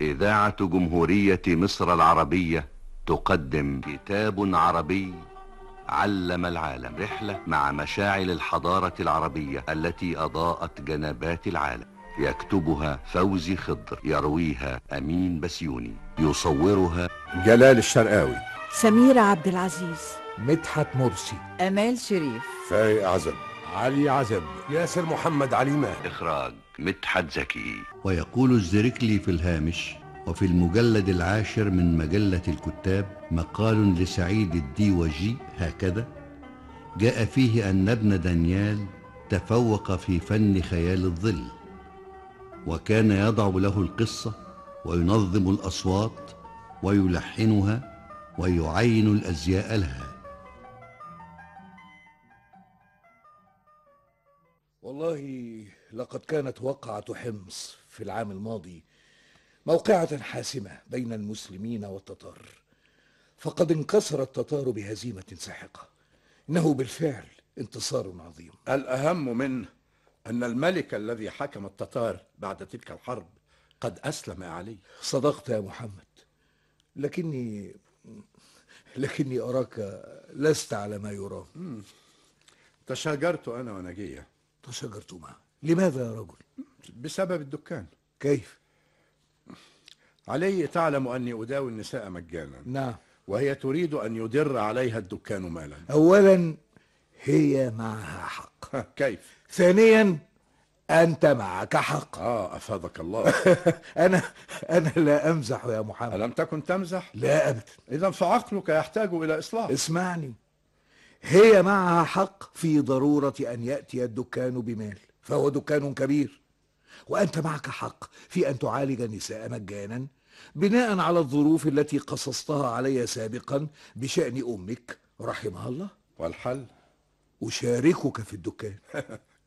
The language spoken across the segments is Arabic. إذاعة جمهورية مصر العربية تقدم كتاب عربي علم العالم رحلة مع مشاعل الحضارة العربية التي أضاءت جنبات العالم يكتبها فوزي خضر يرويها أمين بسيوني يصورها جلال الشرقاوي سميرة عبد العزيز مدحت مرسي أمال شريف فايق عزب علي عزب ياسر محمد عليمة إخراج مدحت زكي ويقول الزركلي في الهامش وفي المجلد العاشر من مجلة الكتاب مقال لسعيد الديوجي هكذا جاء فيه أن ابن دانيال تفوق في فن خيال الظل وكان يضع له القصة وينظم الأصوات ويلحنها ويعين الأزياء لها والله لقد كانت وقعة حمص في العام الماضي موقعة حاسمة بين المسلمين والتتار فقد انكسر التتار بهزيمة ساحقة إنه بالفعل انتصار عظيم الأهم منه أن الملك الذي حكم التتار بعد تلك الحرب قد أسلم علي صدقت يا محمد لكني لكني أراك لست على ما يرام تشاجرت أنا ونجية تشاجرت معه لماذا يا رجل؟ بسبب الدكان كيف؟ علي تعلم أني أداوي النساء مجانا نعم وهي تريد أن يدر عليها الدكان مالا أولا هي معها حق كيف؟ ثانيا أنت معك حق آه أفادك الله أنا أنا لا أمزح يا محمد ألم تكن تمزح؟ لا أبدا إذا فعقلك يحتاج إلى إصلاح اسمعني هي معها حق في ضرورة أن يأتي الدكان بمال فهو دكان كبير وأنت معك حق في أن تعالج النساء مجانا بناء على الظروف التي قصصتها علي سابقا بشأن أمك رحمها الله والحل أشاركك في الدكان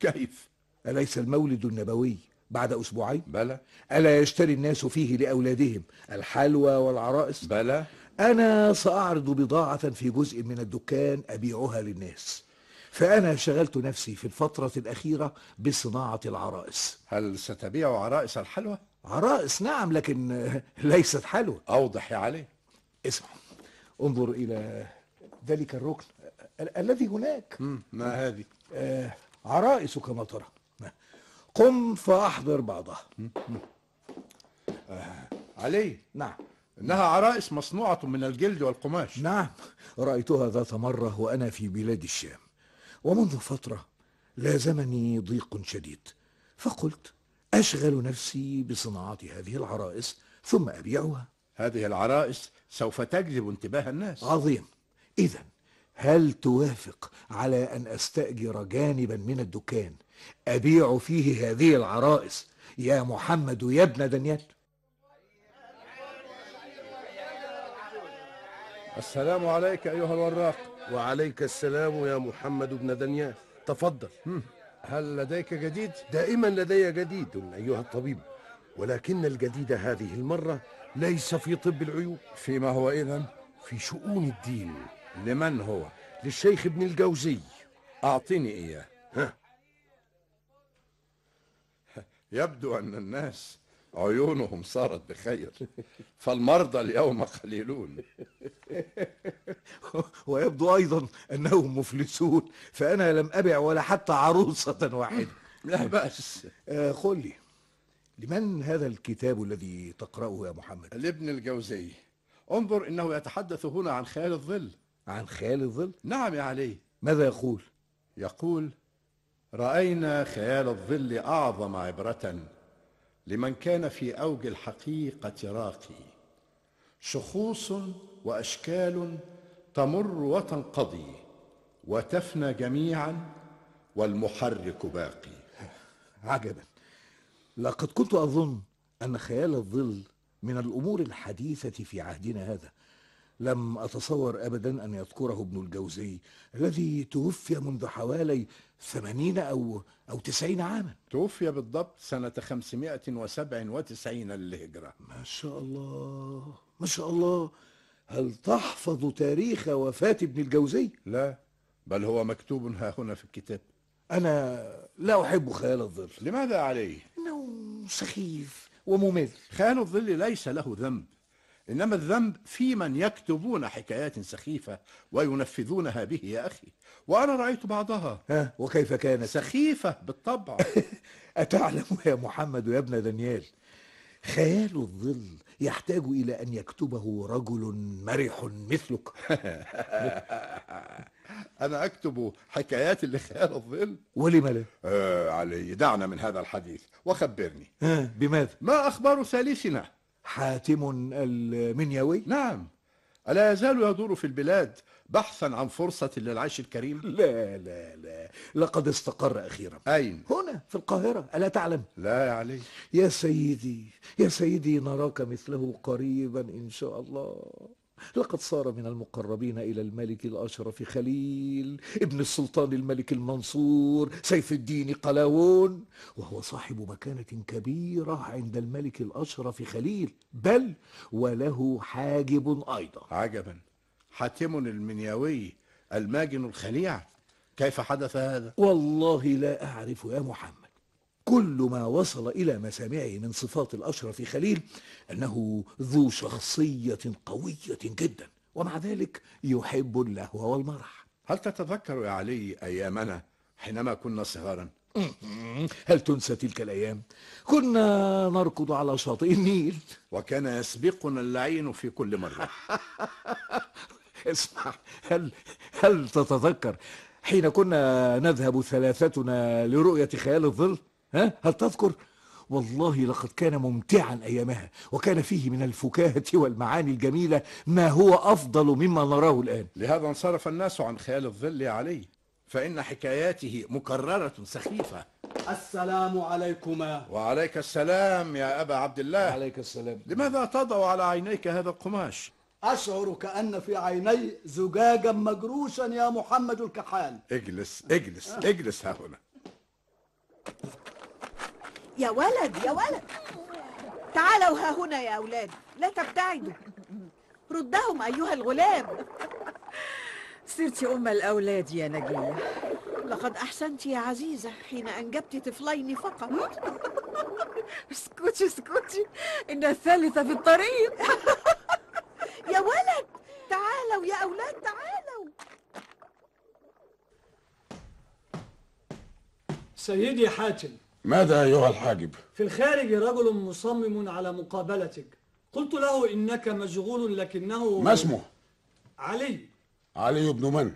كيف؟ أليس المولد النبوي بعد أسبوعين؟ بلى ألا يشتري الناس فيه لأولادهم الحلوى والعرائس؟ بلى أنا سأعرض بضاعة في جزء من الدكان أبيعها للناس فأنا شغلت نفسي في الفترة الأخيرة بصناعة العرائس هل ستبيع عرائس الحلوى؟ عرائس نعم لكن ليست حلوى أوضح يا علي اسمع انظر إلى ذلك الركن ال- الذي هناك ما هذه؟ آه عرائس كما ترى قم فأحضر بعضها آه علي نعم إنها عرائس مصنوعة من الجلد والقماش نعم رأيتها ذات مرة وأنا في بلاد الشام ومنذ فترة لازمني ضيق شديد فقلت أشغل نفسي بصناعة هذه العرائس ثم أبيعها هذه العرائس سوف تجذب انتباه الناس عظيم إذا هل توافق على أن أستأجر جانبا من الدكان أبيع فيه هذه العرائس يا محمد يا ابن دانيال السلام عليك أيها الوراق وعليك السلام يا محمد بن دانيال تفضل هل لديك جديد؟ دائما لدي جديد أيها الطبيب ولكن الجديد هذه المرة ليس في طب العيوب فيما هو إذا؟ في شؤون الدين لمن هو؟ للشيخ ابن الجوزي أعطيني إياه ها؟ يبدو أن الناس عيونهم صارت بخير فالمرضى اليوم قليلون ويبدو أيضا أنهم مفلسون فأنا لم أبع ولا حتى عروسة واحدة لا بأس آه قل لي لمن هذا الكتاب الذي تقرأه يا محمد؟ لابن الجوزي انظر إنه يتحدث هنا عن خيال الظل عن خيال الظل؟ نعم يا علي ماذا يقول؟ يقول رأينا خيال الظل أعظم عبرة لمن كان في أوج الحقيقة راقي شخوص وأشكال تمر وتنقضي وتفنى جميعا والمحرك باقي عجبا لقد كنت أظن أن خيال الظل من الأمور الحديثة في عهدنا هذا لم أتصور أبدا أن يذكره ابن الجوزي الذي توفي منذ حوالي ثمانين أو, أو تسعين عاما توفي بالضبط سنة 597 للهجرة ما شاء الله ما شاء الله هل تحفظ تاريخ وفاة ابن الجوزي؟ لا بل هو مكتوب ها هنا في الكتاب أنا لا أحب خيال الظل لماذا عليه؟ إنه سخيف وممل خيان الظل ليس له ذنب إنما الذنب في من يكتبون حكايات سخيفة وينفذونها به يا أخي وأنا رأيت بعضها ها وكيف كانت سخيفة بالطبع أتعلم يا محمد يا ابن دانيال خيال الظل يحتاج إلى أن يكتبه رجل مرح مثلك أنا أكتب حكايات لخيال الظل ولم لا؟ آه علي دعنا من هذا الحديث وخبرني ها بماذا؟ ما أخبار ثالثنا حاتم المنيوي؟ نعم ألا يزال يدور في البلاد بحثا عن فرصة للعيش الكريم لا لا لا لقد استقر أخيرا أين هنا في القاهرة ألا تعلم؟ لا يا علي يا سيدي يا سيدي نراك مثله قريبا إن شاء الله لقد صار من المقربين إلى الملك الأشرف خليل ابن السلطان الملك المنصور سيف الدين قلاوون وهو صاحب مكانة كبيرة عند الملك الأشرف خليل بل وله حاجب أيضا عجبا حاتم المنياوي الماجن الخليع كيف حدث هذا والله لا أعرف يا محمد كل ما وصل إلى مسامعي من صفات الأشرف خليل أنه ذو شخصية قوية جدا ومع ذلك يحب اللهو والمرح هل تتذكر يا علي أيامنا حينما كنا صغارا هل تنسى تلك الأيام؟ كنا نركض على شاطئ النيل وكان يسبقنا اللعين في كل مرة اسمع هل, هل تتذكر حين كنا نذهب ثلاثتنا لرؤية خيال الظل ها؟ هل تذكر؟ والله لقد كان ممتعا أيامها وكان فيه من الفكاهة والمعاني الجميلة ما هو أفضل مما نراه الآن لهذا انصرف الناس عن خيال الظل يا علي فإن حكاياته مكررة سخيفة السلام عليكما وعليك السلام يا أبا عبد الله عليك السلام لماذا تضع على عينيك هذا القماش أشعر كأن في عيني زجاجا مجروشا يا محمد الكحال اجلس اجلس اجلس ها هنا يا ولد يا ولد تعالوا ها هنا يا أولاد لا تبتعدوا ردهم أيها الغلام صرت أم الأولاد يا نجية لقد أحسنت يا عزيزة حين أنجبت طفلين فقط اسكتي اسكتي إن الثالثة في الطريق يا ولد تعالوا يا أولاد تعالوا سيدي حاتم ماذا أيها الحاجب؟ في الخارج رجل مصمم على مقابلتك قلت له إنك مشغول لكنه ما اسمه؟ علي علي بن من؟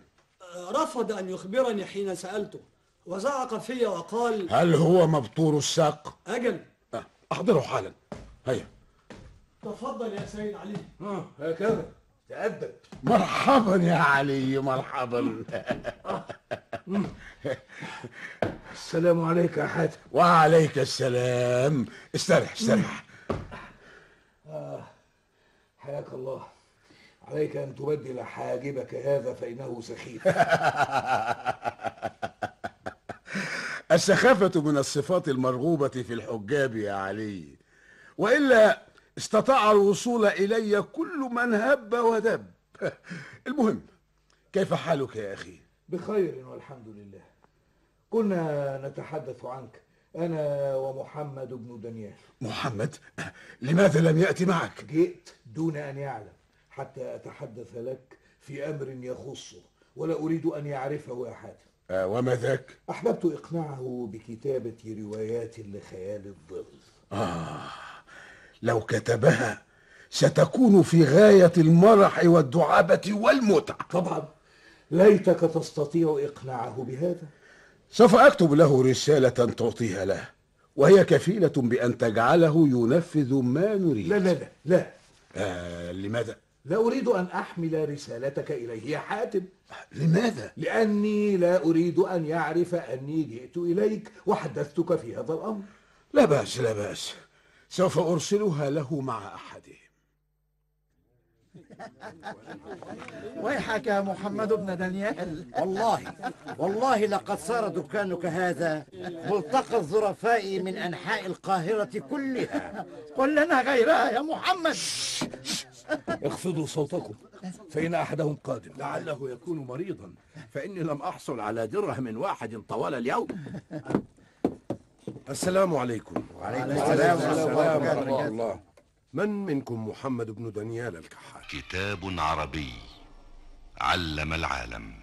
رفض أن يخبرني حين سألته وزعق في وقال هل هو مبتور الساق؟ أجل أه، أحضره حالا هيا تفضل يا سيد علي هكذا تأدب مرحبا يا علي مرحبا السلام عليك يا حاتم وعليك السلام استرح استرح حياك الله عليك أن تبدل حاجبك هذا فإنه سخيف السخافة من الصفات المرغوبة في الحجاب يا علي وإلا استطاع الوصول إلي كل من هب ودب المهم كيف حالك يا أخي؟ بخير والحمد لله كنا نتحدث عنك أنا ومحمد بن دانيال محمد لماذا لم يأتي معك؟ جئت دون أن يعلم حتى أتحدث لك في أمر يخصه ولا أريد أن يعرفه يا حاتم آه وما ذاك؟ أحببت إقناعه بكتابة روايات لخيال الظل لو كتبها ستكون في غاية المرح والدعابة والمتعة طبعا ليتك تستطيع إقناعه بهذا سوف أكتب له رسالة تعطيها له وهي كفيلة بأن تجعله ينفذ ما نريد لا لا لا لا آه لماذا؟ لا أريد أن أحمل رسالتك إليه يا حاتم لماذا؟ لأني لا أريد أن يعرف أني جئت إليك وحدثتك في هذا الأمر لا بأس لا بأس سوف أرسلها له مع أحدهم ويحك يا محمد بن دانيال والله والله لقد صار دكانك هذا ملتقى الظرفاء من أنحاء القاهرة كلها قل لنا غيرها يا محمد اخفضوا صوتكم فإن أحدهم قادم لعله يكون مريضا فإني لم أحصل على درهم واحد طوال اليوم السلام عليكم وعليكم السلام السلام ورحمة الله ورحمة وبركاته. الله من منكم محمد بن دانيال الكحال كتاب عربي علم العالم